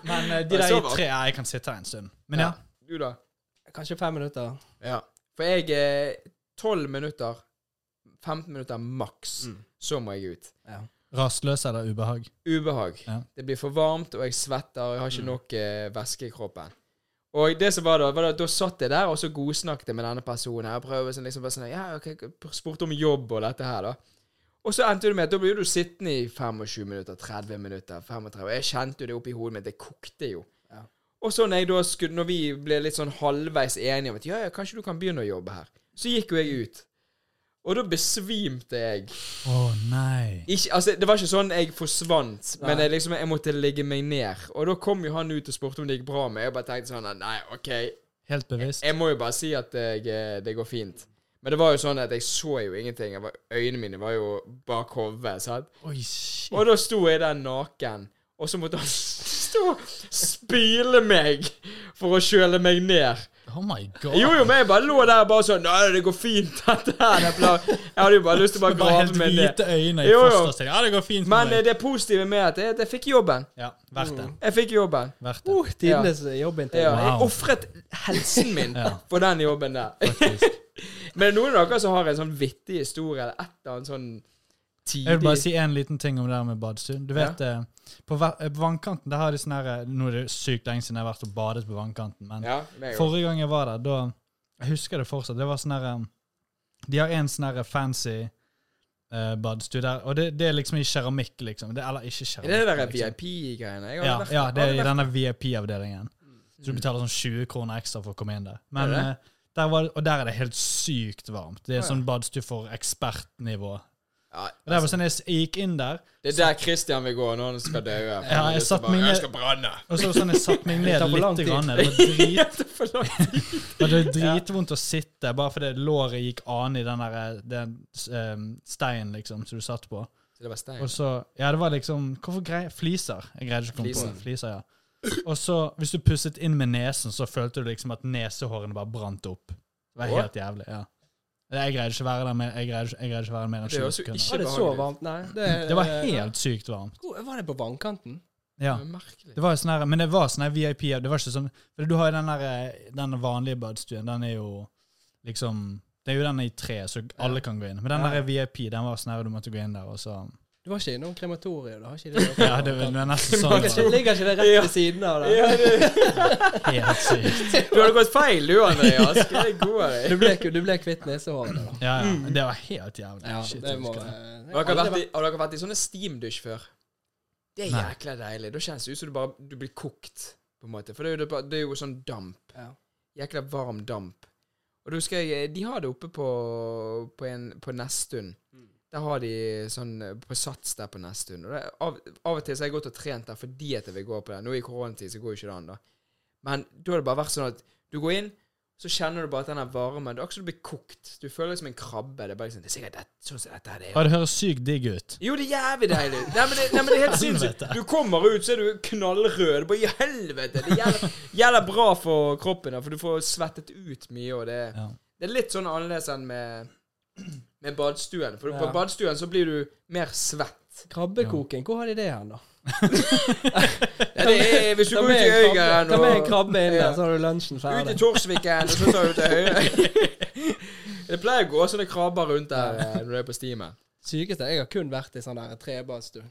Speaker 2: men eh, de
Speaker 3: Oi,
Speaker 2: der
Speaker 3: så
Speaker 2: i
Speaker 3: var-
Speaker 2: tre ja, Jeg kan sitte her en stund. Men ja.
Speaker 3: Du, da?
Speaker 4: Kanskje fem minutter.
Speaker 3: Ja. For jeg er 12 minutter, 15 minutter maks, så må jeg ut.
Speaker 2: Rastløs eller ubehag?
Speaker 3: Ubehag.
Speaker 2: Ja.
Speaker 3: Det blir for varmt, og jeg svetter, og jeg har ikke nok eh, væske i kroppen. Og det som var da, var da, da satt jeg der, og så godsnakket jeg med denne personen. her, prøvde sånn, liksom bare sånn, ja, ok, Spurte om jobb og dette her, da. Og så endte det med at da blir du sittende i 25 minutter, 30 minutter, 35 Jeg kjente jo det oppi hodet mitt, det kokte jo.
Speaker 4: Ja.
Speaker 3: Og så når, jeg da skulle, når vi ble litt sånn halvveis enige om at ja, ja, kanskje du kan begynne å jobbe her, så gikk jo jeg ut. Og da besvimte jeg.
Speaker 2: Å nei.
Speaker 3: Ikke, altså, det var ikke sånn jeg forsvant, men
Speaker 4: Nei.
Speaker 3: jeg, liksom, jeg måtte legge meg ned. Og da kom jo han ut og spurte om det gikk bra med. Jeg bare tenkte sånn at nei, OK,
Speaker 2: Helt bevisst.
Speaker 3: jeg må jo bare si at jeg, eh, det går fint. Men det var jo sånn at jeg så jo ingenting. Jeg var, øynene mine var jo bak hodet. sant?
Speaker 2: Oi, shit.
Speaker 3: Og da sto jeg der naken, og så måtte han stå og spyle meg for å kjøle meg ned.
Speaker 2: Oh my god.
Speaker 3: Jo, jo, men jeg bare lå der og bare sånn Nei, det går fint, dette her. det er bra.» Jeg hadde jo bare lyst til å bare
Speaker 2: Bare
Speaker 3: grave
Speaker 2: helt
Speaker 3: meg ned.
Speaker 2: hvite øyne i
Speaker 3: Jo, jo.
Speaker 2: fosterstilling. Ja, det går fint
Speaker 3: Men
Speaker 2: med
Speaker 3: eh,
Speaker 2: meg.
Speaker 3: det positive med at jeg, jeg fikk jobben.
Speaker 2: Ja, verdt det.
Speaker 3: Jeg fikk jobben.
Speaker 2: Verdt det.
Speaker 4: Uh, Tidenes jobbintervju.
Speaker 3: Ja, jeg
Speaker 2: Wow.
Speaker 3: ofret helsen min
Speaker 2: Ja.
Speaker 3: for den jobben der.
Speaker 2: Faktisk.
Speaker 3: Men er det noen av dere som har en sånn vittig historie, eller et eller annet sånn
Speaker 2: Jeg vil bare
Speaker 3: tidig
Speaker 2: si en liten ting om det her med badstue. Du vet, eh, på, va- eh, på vannkanten der har de sånn her eh, Nå er det sykt lenge siden jeg har vært og badet på vannkanten, men
Speaker 3: Ja, meg også.
Speaker 2: Forrige gang jeg var der, da Jeg husker det fortsatt. Det var sånn her um, De har en sånn her fancy uh, badstue der, og det, det er liksom i keramikk, liksom. Det, eller ikke
Speaker 3: Er
Speaker 2: keramikk.
Speaker 3: det det der
Speaker 2: liksom.
Speaker 3: VIP-greiene? Jeg har
Speaker 2: Ja,
Speaker 3: vært-
Speaker 2: ja, det er
Speaker 3: har
Speaker 2: i
Speaker 3: vært-
Speaker 2: denne VIP-avdelingen. Så du betaler sånn 20 kroner ekstra for å komme inn der. Men,
Speaker 3: Er det?
Speaker 2: eh, der var, og der er det helt sykt varmt. Det
Speaker 3: Å,
Speaker 2: er
Speaker 3: ja.
Speaker 2: sånn badstue for ekspertnivå. Og
Speaker 3: Ja, altså,
Speaker 2: der var sånn, jeg, s- jeg gikk inn der,
Speaker 3: Det er der Christian vil gå når han skal dø. Han
Speaker 2: jeg
Speaker 3: har lyst til
Speaker 2: satt
Speaker 3: å bare,
Speaker 2: mine-
Speaker 3: Jeg skal brenne.
Speaker 2: og så var det sånn jeg satte meg ned
Speaker 4: tar for lang
Speaker 2: litt.
Speaker 4: tid.
Speaker 2: Grann. Det var drit
Speaker 3: For langt.
Speaker 2: Og det er dritvondt å sitte, bare fordi låret gikk an i den, der, eh, den ehm, steinen liksom, som du satt på.
Speaker 3: Så det var stein.
Speaker 2: Og så, ja, det var liksom Hvorfor greier Fliser. Jeg greide ikke å komme
Speaker 3: Fliser.
Speaker 2: på Fliser, ja. Og så, hvis du pusset inn med nesen, så følte du liksom at nesehårene bare brant opp. Det var
Speaker 3: Åh.
Speaker 2: helt jævlig. ja. Jeg greide ikke å være der mer, jeg greide, ikke- jeg greide ikke å være mer enn
Speaker 3: Det er
Speaker 2: 20
Speaker 3: også
Speaker 2: sekunder.
Speaker 3: ikke-
Speaker 4: Var det så eh,
Speaker 3: behagelig.
Speaker 4: varmt? Nei. Det,
Speaker 2: Det var helt sykt varmt.
Speaker 4: Hvor- Var det på vannkanten?
Speaker 2: Ja.
Speaker 3: Det er merkelig.
Speaker 2: Det var jo sånn her, men det var sånn her VIP Det var ikke sånn For du har jo den der eh, Den vanlige badstuen, den er jo liksom Det er jo den i tre, så alle kan gå inn. Men den
Speaker 4: Ja.
Speaker 2: der VIP, den var sånn her, du måtte gå inn der, og så
Speaker 4: Du var ikke innom krematoriet? Du har ikke det
Speaker 2: Ja, det var det var nesten sånn.
Speaker 4: Ligger
Speaker 2: Det
Speaker 4: ikke- Ligger ikke det rett ved siden av der?
Speaker 3: Ja, det,
Speaker 2: var helt sykt.
Speaker 3: du hadde gått feil, du, Andreas. Det er god av deg.
Speaker 4: Du ble, du ble kvitt nesehåret. da.
Speaker 2: Ja, ja. Det var helt jævlig.
Speaker 4: Ja,
Speaker 2: Shit,
Speaker 4: det
Speaker 2: jeg
Speaker 4: må
Speaker 2: husker det.
Speaker 4: eh,
Speaker 3: Har dere
Speaker 4: aldri
Speaker 3: vært i, har dere vært i sånne steamdusj før? Det er
Speaker 2: Nei.
Speaker 3: jækla deilig. Da kjennes det ut som du bare du blir kokt, på en måte. For det er jo, det er bare- det er jo sånn damp.
Speaker 4: vært- ja.
Speaker 3: Jækla varm damp. Og da husker jeg De har det oppe på, på, en, på Nesttun. Der har de sånn eh, på Sats der på Nesttun. Og det, av, av og til så har jeg gått og trent der fordi at jeg vil gå på det. Nå i koronatid så går jo ikke det an, da. Men da har det bare vært sånn at du går inn, så kjenner du bare at den er varmen. Det er akkurat som du blir kokt. Du føler deg som en krabbe. Det er bare liksom, det er sikkert det, sånn som dette her det er.
Speaker 2: Ja, det høres sykt digg ut.
Speaker 3: Jo, det er jævlig deilig. Nei, men det, nei, men det er helt
Speaker 4: Sånn,
Speaker 3: sinnssykt.
Speaker 2: Helvete.
Speaker 3: Du kommer ut, så er du knallrød. Det er bare i helvete. Det gjelder, gjelder bra for kroppen, da, for du får svettet ut mye, og det,
Speaker 2: Ja.
Speaker 3: det er litt sånn annerledes enn med, med badstuen. For på
Speaker 4: Ja.
Speaker 3: badstuen så blir du mer svett.
Speaker 4: Krabbekoking, hvor har de det hen, da?
Speaker 3: Ja, det er, hvis du
Speaker 4: Ta
Speaker 3: går
Speaker 4: med
Speaker 3: ut i
Speaker 4: en krabbe-
Speaker 3: Øygarden
Speaker 4: Ta med en
Speaker 3: og
Speaker 4: krabbe inn der,
Speaker 3: Ja.
Speaker 4: så har du lunsjen
Speaker 3: ut i
Speaker 4: ferdig.
Speaker 3: Torsviken, og så tar du til høyre Det pleier å gå sånne krabber rundt der eh, når du er på stimen.
Speaker 4: Sykeste Jeg har kun vært i sånn der trebadstue.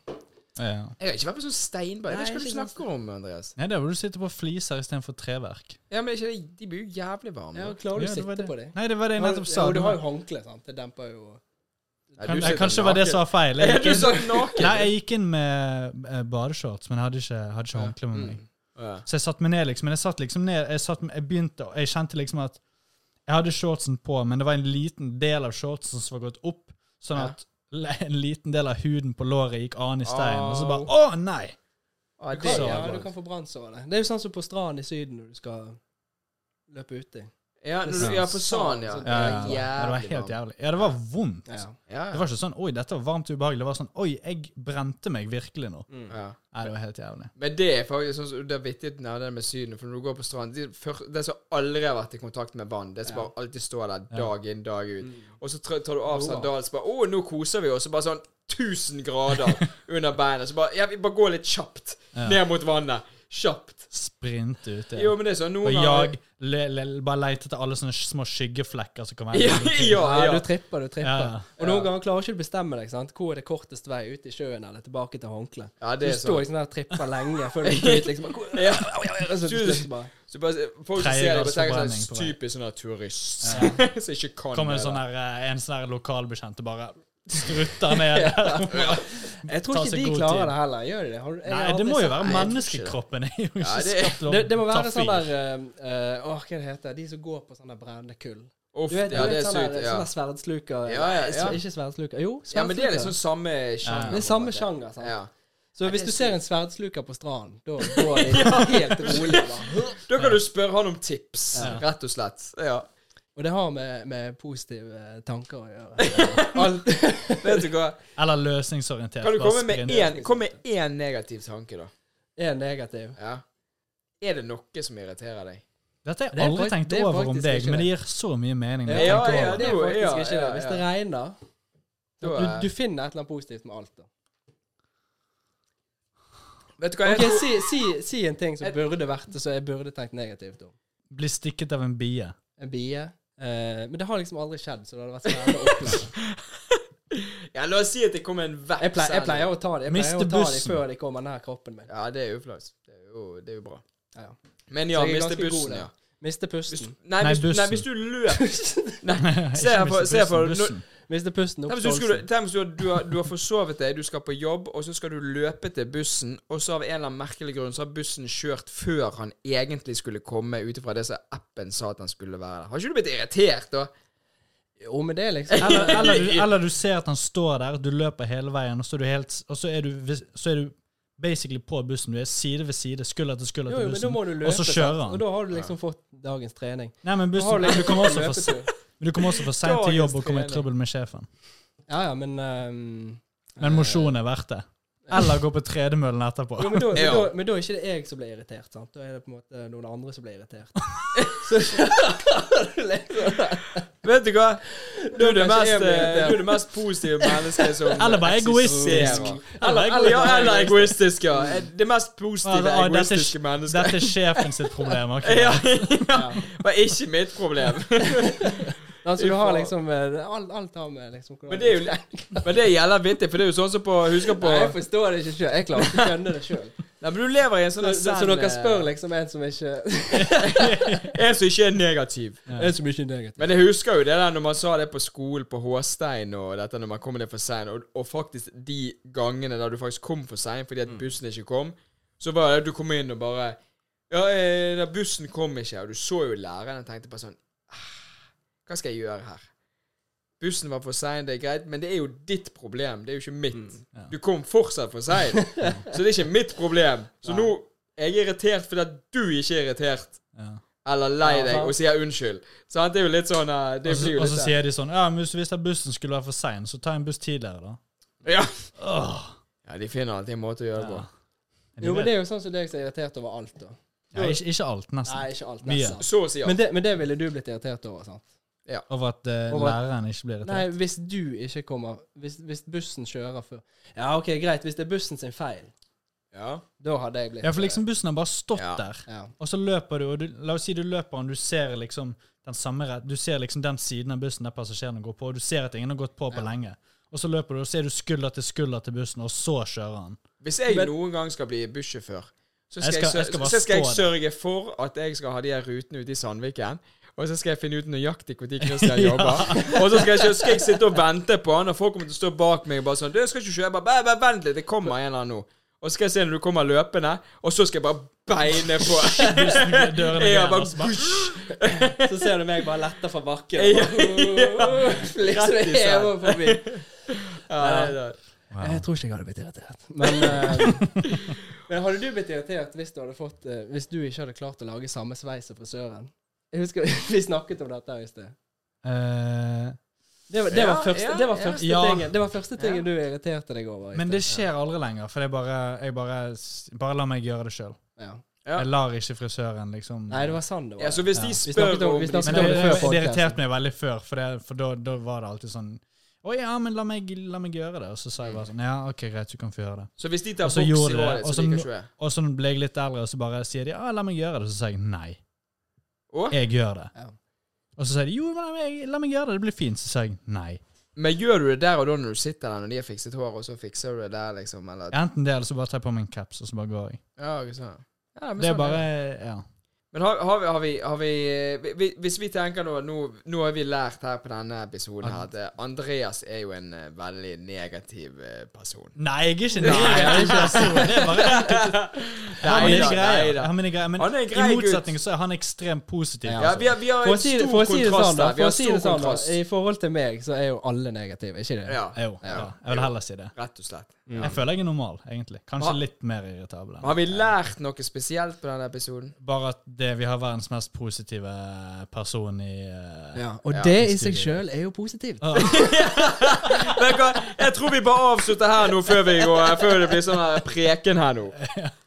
Speaker 2: Ja, ja.
Speaker 3: Jeg har ikke vært på sånn steinbad. Jeg vet
Speaker 4: Nei,
Speaker 3: ikke hva du
Speaker 4: ikke
Speaker 3: snakker om, Andreas.
Speaker 2: Nei, det er hvor du sitter på fliser istedenfor treverk.
Speaker 3: Ja, men er ikke det, De blir jo jævlig varme.
Speaker 4: Ja, klarer du
Speaker 2: Ja,
Speaker 4: å
Speaker 2: det var
Speaker 4: sitte
Speaker 2: det.
Speaker 4: på dem?
Speaker 2: Nei, det var det jeg nettopp sa.
Speaker 4: Jo, du
Speaker 2: Du-
Speaker 4: har jo håndkle, sant. Det demper jo
Speaker 3: Nei,
Speaker 2: Kan,
Speaker 3: du sitter
Speaker 2: kanskje det var det som var
Speaker 3: naken.
Speaker 2: feil.
Speaker 3: Er
Speaker 2: Jeg
Speaker 3: du
Speaker 2: gikk inn,
Speaker 3: så naken?
Speaker 2: nei, jeg gikk inn med eh, badeshorts, men jeg hadde ikke, hadde ikke håndkle med meg.
Speaker 3: Ja.
Speaker 2: Så jeg satt meg ned, liksom. Men jeg satt liksom ned Jeg, satt, jeg begynte og Jeg kjente liksom at Jeg hadde shortsen på, men det var en liten del av shortsen som var gått opp, sånn
Speaker 3: Ja.
Speaker 2: at le- en liten del av huden på låret gikk annen i stein. Og så bare Å, nei!
Speaker 3: Ja,
Speaker 4: det,
Speaker 3: det
Speaker 2: Så-
Speaker 4: ja,
Speaker 3: er
Speaker 4: du
Speaker 3: godt.
Speaker 4: kan få brannsår av det. Det er jo sånn som på stranden i Syden når du skal løpe uti.
Speaker 3: Ja, når du- ja, på sånn, ja.
Speaker 4: Ja,
Speaker 2: Ja, ja, ja.
Speaker 3: Jævlig
Speaker 2: Ja, det var helt
Speaker 3: varmt.
Speaker 2: jævlig. Ja, det var vondt.
Speaker 4: Ja.
Speaker 3: Ja,
Speaker 2: Det var ikke sånn 'oi, dette var varmt og ubehagelig'. Det var sånn 'oi, jeg brente meg virkelig nå'.
Speaker 3: ja.
Speaker 2: Nei, det var helt jævlig.
Speaker 3: Men det er faktisk sånn som- det er vittig når det er med Syden. For når du går på stranden de før- Det som aldri har vært i kontakt med vann, det som bare alltid står der dag inn, dag ut. Og så tra- tar du av sandalen, så bare Å, nå koser vi oss. Og bare sånn 1000 grader under beina. Så bare Ja, vi bare går litt kjapt ned mot vannet. Kjapt.
Speaker 2: Sprinte ute.
Speaker 3: Jo, men det er sånn noen
Speaker 2: Og
Speaker 3: ganger-
Speaker 2: jag le, le, bare leite etter alle sånne små skyggeflekker som kan være
Speaker 3: Ja, ja,
Speaker 4: Ja,
Speaker 3: ja.
Speaker 4: du tripper, du tripper.
Speaker 2: Ja, ja.
Speaker 4: Og noen ganger klarer ikke du bestemme deg. sant? Hvor er det kortest vei ut i sjøen eller tilbake til håndkle?
Speaker 3: Ja, det
Speaker 4: Du
Speaker 3: er
Speaker 4: står
Speaker 3: sånn.
Speaker 4: liksom der og tripper lenge før du ikke vet liksom hvor-
Speaker 3: Ja.
Speaker 4: Og så til slutt bare
Speaker 3: Så bare, folk som
Speaker 2: Tredje
Speaker 3: ser det,
Speaker 2: grads
Speaker 3: bare tenker
Speaker 2: forbrenning på
Speaker 3: sånn
Speaker 2: vei.
Speaker 3: typisk sånn der turist som ikke kan
Speaker 2: kommer en
Speaker 3: det.
Speaker 2: sånn
Speaker 3: da.
Speaker 2: her, eh, en sånn her lokalbekjent og bare strutter ned.
Speaker 4: Jeg tror
Speaker 2: Ta
Speaker 4: ikke
Speaker 2: seg
Speaker 4: de
Speaker 2: god
Speaker 4: klarer
Speaker 2: tid.
Speaker 4: det heller. Gjør de det? Har du- jeg
Speaker 2: Nei,
Speaker 4: har
Speaker 2: det
Speaker 4: aldri
Speaker 2: må jo
Speaker 4: sett-
Speaker 2: være
Speaker 3: Nei, jeg tror ikke det.
Speaker 2: menneskekroppen. er jo ikke
Speaker 3: Ja, det-
Speaker 2: skapt til å
Speaker 4: det, det må
Speaker 2: ta
Speaker 4: være sånn
Speaker 2: fyr.
Speaker 4: der eh, eh, Åh, hva det heter De som går på sånne brennende kull.
Speaker 3: Uff,
Speaker 4: Du vet,
Speaker 3: ja,
Speaker 4: du
Speaker 3: det er
Speaker 4: vet sånne,
Speaker 3: sykt.
Speaker 4: der-
Speaker 3: Ja.
Speaker 4: sånne sverdsluker
Speaker 3: Ja, ja,
Speaker 4: Nei, så-
Speaker 3: ja.
Speaker 4: Ikke sverdsluker. Jo, sverdsluker.
Speaker 3: ja, men det er liksom samme sjanger.
Speaker 4: Det er samme sjanger. sant?
Speaker 3: Ja.
Speaker 4: Så
Speaker 3: det
Speaker 4: hvis
Speaker 3: er
Speaker 4: du ser en sverdsluker på stranden, da går det helt rolig. Da.
Speaker 3: Da kan du spørre han om tips, rett og slett. Ja.
Speaker 4: Og det har med, med positive tanker å gjøre. Alt,
Speaker 3: Vet du hva?
Speaker 2: Eller løsningsorientert.
Speaker 3: Kan du
Speaker 2: bare
Speaker 3: komme
Speaker 2: sprint.
Speaker 3: med én, kom med én negativ tanke, da?
Speaker 4: er negativ.
Speaker 3: Ja. Er det noe som irriterer deg?
Speaker 2: Dette har
Speaker 4: Det er
Speaker 2: jeg aldri
Speaker 4: fakt-
Speaker 2: tenkt
Speaker 4: det er
Speaker 2: over om
Speaker 4: faktisk
Speaker 2: deg,
Speaker 4: ikke
Speaker 2: men det
Speaker 4: det.
Speaker 2: gir så mye mening. når
Speaker 3: Ja,
Speaker 2: jeg
Speaker 3: ja,
Speaker 2: tenker
Speaker 3: ja,
Speaker 2: over det.
Speaker 4: Det er
Speaker 3: Jo,
Speaker 4: faktisk
Speaker 3: ja,
Speaker 4: ikke
Speaker 3: ja,
Speaker 4: det. Hvis
Speaker 3: ja.
Speaker 4: det regner
Speaker 3: Da,
Speaker 4: du,
Speaker 3: eh,
Speaker 4: du finner et eller annet positivt med alt. da.
Speaker 3: vet du hva, jeg
Speaker 4: Ok,
Speaker 3: tror
Speaker 4: si, si, si en ting som burde vært det, så jeg burde tenkt negativt om.
Speaker 2: Bli stikket av en bie.
Speaker 4: En bie. Eh, men det har liksom aldri skjedd, så det hadde vært spennende å oppleve.
Speaker 3: Ja, La oss si at det kommer en veps.
Speaker 4: Jeg pleier, jeg pleier å ta dem de
Speaker 2: Miste bussen.
Speaker 4: før de kommer nær kroppen min.
Speaker 3: Ja, det er uflaut. Det, er jo- det er jo bra.
Speaker 4: Ja, ja.
Speaker 3: Men ja,
Speaker 4: Så jeg er
Speaker 3: miste
Speaker 4: ganske god
Speaker 3: bussen,
Speaker 4: der.
Speaker 3: ja.
Speaker 4: Miste
Speaker 3: Hvis,
Speaker 4: pusten.
Speaker 3: nei,
Speaker 2: Nei,
Speaker 3: hvis, nei,
Speaker 2: bussen.
Speaker 3: hvis du løp
Speaker 2: Ikke
Speaker 3: Se her for-
Speaker 2: miste
Speaker 3: se her for-
Speaker 2: bussen, bussen.
Speaker 4: Miste pusten
Speaker 3: Tenk
Speaker 4: opp
Speaker 3: hvis du, skulle,
Speaker 4: stolsen.
Speaker 3: tenk hvis du, har- du, har, du har forsovet deg, du skal på jobb, og så skal du løpe til bussen, og så av en eller annen merkelig grunn så har bussen kjørt før han egentlig skulle komme, ut ifra det som appen sa at han skulle være der. Har ikke du blitt irritert da?
Speaker 4: Jo, men det er liksom
Speaker 2: Eller, eller, du, eller du ser at han står der, du løper hele veien, og så er du, helt, og så er du, vis- så er du basically på bussen. Du er side ved side, skulder til skulder
Speaker 4: Jo,
Speaker 2: til
Speaker 4: jo, men da
Speaker 2: bussen.
Speaker 4: må du løpe.
Speaker 2: og så kjører
Speaker 4: sant?
Speaker 2: han.
Speaker 4: Og da har du liksom fått dagens trening.
Speaker 2: Nei, men
Speaker 4: Da har
Speaker 2: bussen,
Speaker 4: du
Speaker 2: du
Speaker 4: liksom
Speaker 2: kommer også for,
Speaker 4: fått
Speaker 2: se- du kommer også for sent til
Speaker 3: Dagens
Speaker 2: jobb og kommer i
Speaker 3: trening.
Speaker 2: trøbbel med sjefen.
Speaker 4: Ja, ja, men ehm,
Speaker 2: Men mosjonen er verdt det. Eller gå på tredemøllen etterpå.
Speaker 4: Jo, men, da, men,
Speaker 3: Ja.
Speaker 4: da, men da er ikke det jeg som blir irritert, sant? Da er det på en måte noen andre som blir irritert.
Speaker 3: Vet du hva? Du er det
Speaker 4: kanskje
Speaker 3: mest,
Speaker 4: jeg blir
Speaker 3: eh,
Speaker 4: irritert.
Speaker 3: du er det mest positive mennesket som
Speaker 2: Eller bare egoistisk.
Speaker 3: eksisterer.
Speaker 2: Eller
Speaker 3: Eller, ja,
Speaker 2: egoistisk.
Speaker 3: eller egoistisk, ja. Det mest positive
Speaker 2: Ah, ah, dette-
Speaker 3: egoistiske mennesket.
Speaker 2: Dette er sjefen sitt problem. ok?
Speaker 3: Ja, ja. Var ikke mitt problem.
Speaker 4: Altså, du har liksom eh, alt, alt har med liksom hvordan-
Speaker 3: Men det, er jo, men det gjelder vittig, for det er jo sånn som på Husker på
Speaker 4: Nei, jeg forstår det ikke sjøl. Jeg klarer ikke å skjønne det sjøl.
Speaker 3: Nei, men du lever i en sånn
Speaker 4: Så, så, så dere
Speaker 3: zen, eh,
Speaker 4: spør liksom en som ikke
Speaker 3: En som ikke er negativ.
Speaker 4: En som ikke er negativ.
Speaker 3: Men jeg husker jo det der når man sa det på skolen, på Håstein, og dette når man kommer ned for seint, og, og faktisk de gangene der du faktisk kom for seint fordi at bussen ikke kom, så var det at du kom inn og bare Ja, eh, da bussen kom ikke, og du så jo læreren og tenkte bare sånn «Ah, Hva skal jeg gjøre her? Bussen var for sein, det er greit, men det er jo ditt problem. Det er jo ikke mitt.
Speaker 2: ja.
Speaker 3: Du kom fortsatt for sein, så det er ikke mitt problem. Så nå er jeg irritert fordi at du ikke er irritert
Speaker 2: Ja.
Speaker 3: eller lei
Speaker 4: Ja,
Speaker 3: deg
Speaker 4: sant.
Speaker 3: og sier unnskyld. Sant? det er jo litt sånn eh, Det
Speaker 2: Og så-
Speaker 3: blir jo
Speaker 2: og
Speaker 3: litt
Speaker 2: så
Speaker 3: sånn.
Speaker 2: sier de sånn Ja, men hvis- hvis den bussen skulle være for sein, så ta en buss tidligere, da.
Speaker 3: ja.
Speaker 2: Åh,
Speaker 3: ja, de finner alltid en måte å gjøre det på.
Speaker 2: ja.
Speaker 4: Jo, men det er jo sånn som deg som er irritert over alt, da.
Speaker 2: ja, ikke, ikke alt, nesten.
Speaker 4: Nei, ikke alt.
Speaker 2: Mye.
Speaker 4: Nesten.
Speaker 3: Så å si ja.
Speaker 4: Men, det, men det ville du blitt irritert over, sant?
Speaker 2: Over at eh,
Speaker 4: Over at-
Speaker 2: læreren ikke blir irritert.
Speaker 4: Nei, hvis du ikke kommer Hvis, hvis bussen kjører før Ja, OK, greit. Hvis det er bussen sin feil,
Speaker 3: ja.
Speaker 4: da hadde jeg blitt
Speaker 2: Ja, for liksom bussen har bare stått
Speaker 3: Ja.
Speaker 2: der,
Speaker 4: ja.
Speaker 2: og så løper du, og du La oss si du løper, og du ser liksom den samme rett, du ser liksom den siden av bussen der passasjerene går på, og du ser at ingen har gått på på lenge. Og så løper du, og så er du skulder til skulder til bussen, og så kjører han.
Speaker 3: Hvis jeg
Speaker 4: Men-
Speaker 3: noen gang skal bli bussjåfør, så
Speaker 2: Jeg
Speaker 3: skal jeg,
Speaker 2: skal- jeg
Speaker 3: sø-
Speaker 2: skal bare
Speaker 3: så skal jeg
Speaker 2: stå
Speaker 3: sørge for at jeg skal ha de her rutene ute i Sandviken. Og så skal jeg finne ut nøyaktig når Christian jobber. Og så skal jeg, ikke- skal jeg sitte og vente på han, og folk kommer til å stå bak meg og bare sånn Du, jeg skal ikke kjøre. Jeg bare, bare, bare vent litt, det kommer en eller annen nå. Og så skal jeg se når du kommer løpende, og så skal jeg bare beine på.
Speaker 2: Dørene altså.
Speaker 3: Ja,
Speaker 2: igjen,
Speaker 3: bare
Speaker 2: og så bare-
Speaker 4: Så ser du meg bare lette fra bakken.
Speaker 3: Ja,
Speaker 4: liksom
Speaker 3: Rett i sand.
Speaker 4: hever forbi.
Speaker 3: Ja, det er det.
Speaker 4: Jeg tror ikke jeg hadde blitt irritert. Men, eh, men hadde du blitt irritert hvis du, hadde fått, eh, hvis du ikke hadde klart å lage samme sveis som frisøren? Jeg husker Vi snakket om dette her i sted.
Speaker 2: Eh,
Speaker 4: Det var, det var
Speaker 3: Ja,
Speaker 4: første,
Speaker 3: ja,
Speaker 4: det var
Speaker 3: ja.
Speaker 4: første
Speaker 2: Ja.
Speaker 4: tingen, det var første tingen du irriterte deg over. i
Speaker 2: Men
Speaker 4: sted.
Speaker 2: det skjer aldri lenger, for det er bare, jeg bare, bare lar meg gjøre det sjøl.
Speaker 4: ja.
Speaker 3: Ja.
Speaker 2: Jeg lar ikke frisøren liksom
Speaker 4: Nei, det var sann det var.
Speaker 3: Ja, så hvis
Speaker 2: Ja.
Speaker 3: de
Speaker 2: Vi
Speaker 3: spør
Speaker 4: snakket om-
Speaker 3: om
Speaker 4: vi snakket
Speaker 2: Men
Speaker 4: om
Speaker 2: det,
Speaker 4: det før
Speaker 2: det, det
Speaker 4: podcasten.
Speaker 2: irriterte meg veldig før, for, det, for da, da var det alltid sånn Å ja, men la meg, la meg gjøre det. Og så sa jeg bare sånn Ja, OK, greit, du kan få gjøre det.
Speaker 3: Så hvis de tar
Speaker 2: Og så
Speaker 3: boks i
Speaker 2: gjorde de det,
Speaker 3: håret,
Speaker 2: og
Speaker 3: så
Speaker 2: så
Speaker 3: liker
Speaker 2: nå-
Speaker 3: ikke jeg.
Speaker 2: Og så ble jeg litt eldre, og så bare sier de Ja, la meg gjøre det. Så sier jeg nei.
Speaker 3: Å?
Speaker 2: Jeg gjør det.
Speaker 4: Ja.
Speaker 2: Og så sier de jo, men la meg, la meg gjøre det, det blir fint. Så sier jeg nei.
Speaker 3: Men gjør du det der og da når du sitter der når de har fikset håret, og så fikser du det der, liksom? Eller
Speaker 2: Enten det, eller så bare tar jeg på meg en caps, og så bare går jeg.
Speaker 3: Ja, ikke sant. Ja, men
Speaker 2: Det er
Speaker 3: sånn
Speaker 2: bare Ja.
Speaker 3: Men har, har, vi, har, vi, har vi, vi- vi Hvis vi tenker nå Nå, nå har vi lært her på denne episoden her at eh, Andreas er jo en eh, veldig negativ eh, person.
Speaker 2: Nei, jeg er ikke nei, jeg er ikke så, Det er bare Jeg har mine
Speaker 3: Neida,
Speaker 2: greier.
Speaker 3: neida.
Speaker 2: Jeg har mine greier. Men
Speaker 3: Han er en grei
Speaker 2: i
Speaker 3: gutt.
Speaker 2: motsetning så er han ekstremt positiv.
Speaker 4: Ja. altså.
Speaker 3: Ja, vi har, vi har
Speaker 4: For å
Speaker 3: en
Speaker 4: si,
Speaker 3: stor
Speaker 4: for å si det sånn,
Speaker 3: kontrast der.
Speaker 4: da.
Speaker 3: Vi
Speaker 4: For
Speaker 3: har
Speaker 4: å si det
Speaker 3: stor
Speaker 4: sånn, da.
Speaker 3: kontrast.
Speaker 4: I forhold til meg, så er jo alle negative, ikke det?
Speaker 3: Ja,
Speaker 2: Jo, ja.
Speaker 3: Ja.
Speaker 2: jeg vil heller si det.
Speaker 3: rett og slett.
Speaker 2: Jeg føler jeg er normal, egentlig. Kanskje
Speaker 3: Hva?
Speaker 2: litt mer irritabel. enn-
Speaker 3: Har vi lært noe spesielt på denne episoden?
Speaker 2: Bare at det, vi har verdens mest positive person i eh,
Speaker 4: Ja, Og
Speaker 3: Ja,
Speaker 4: det
Speaker 2: i
Speaker 4: i seg
Speaker 2: studio.
Speaker 4: sjøl er jo positivt.
Speaker 3: Vet du hva? Jeg tror vi bare avslutter her nå før vi går Før det blir sånn her preken her nå.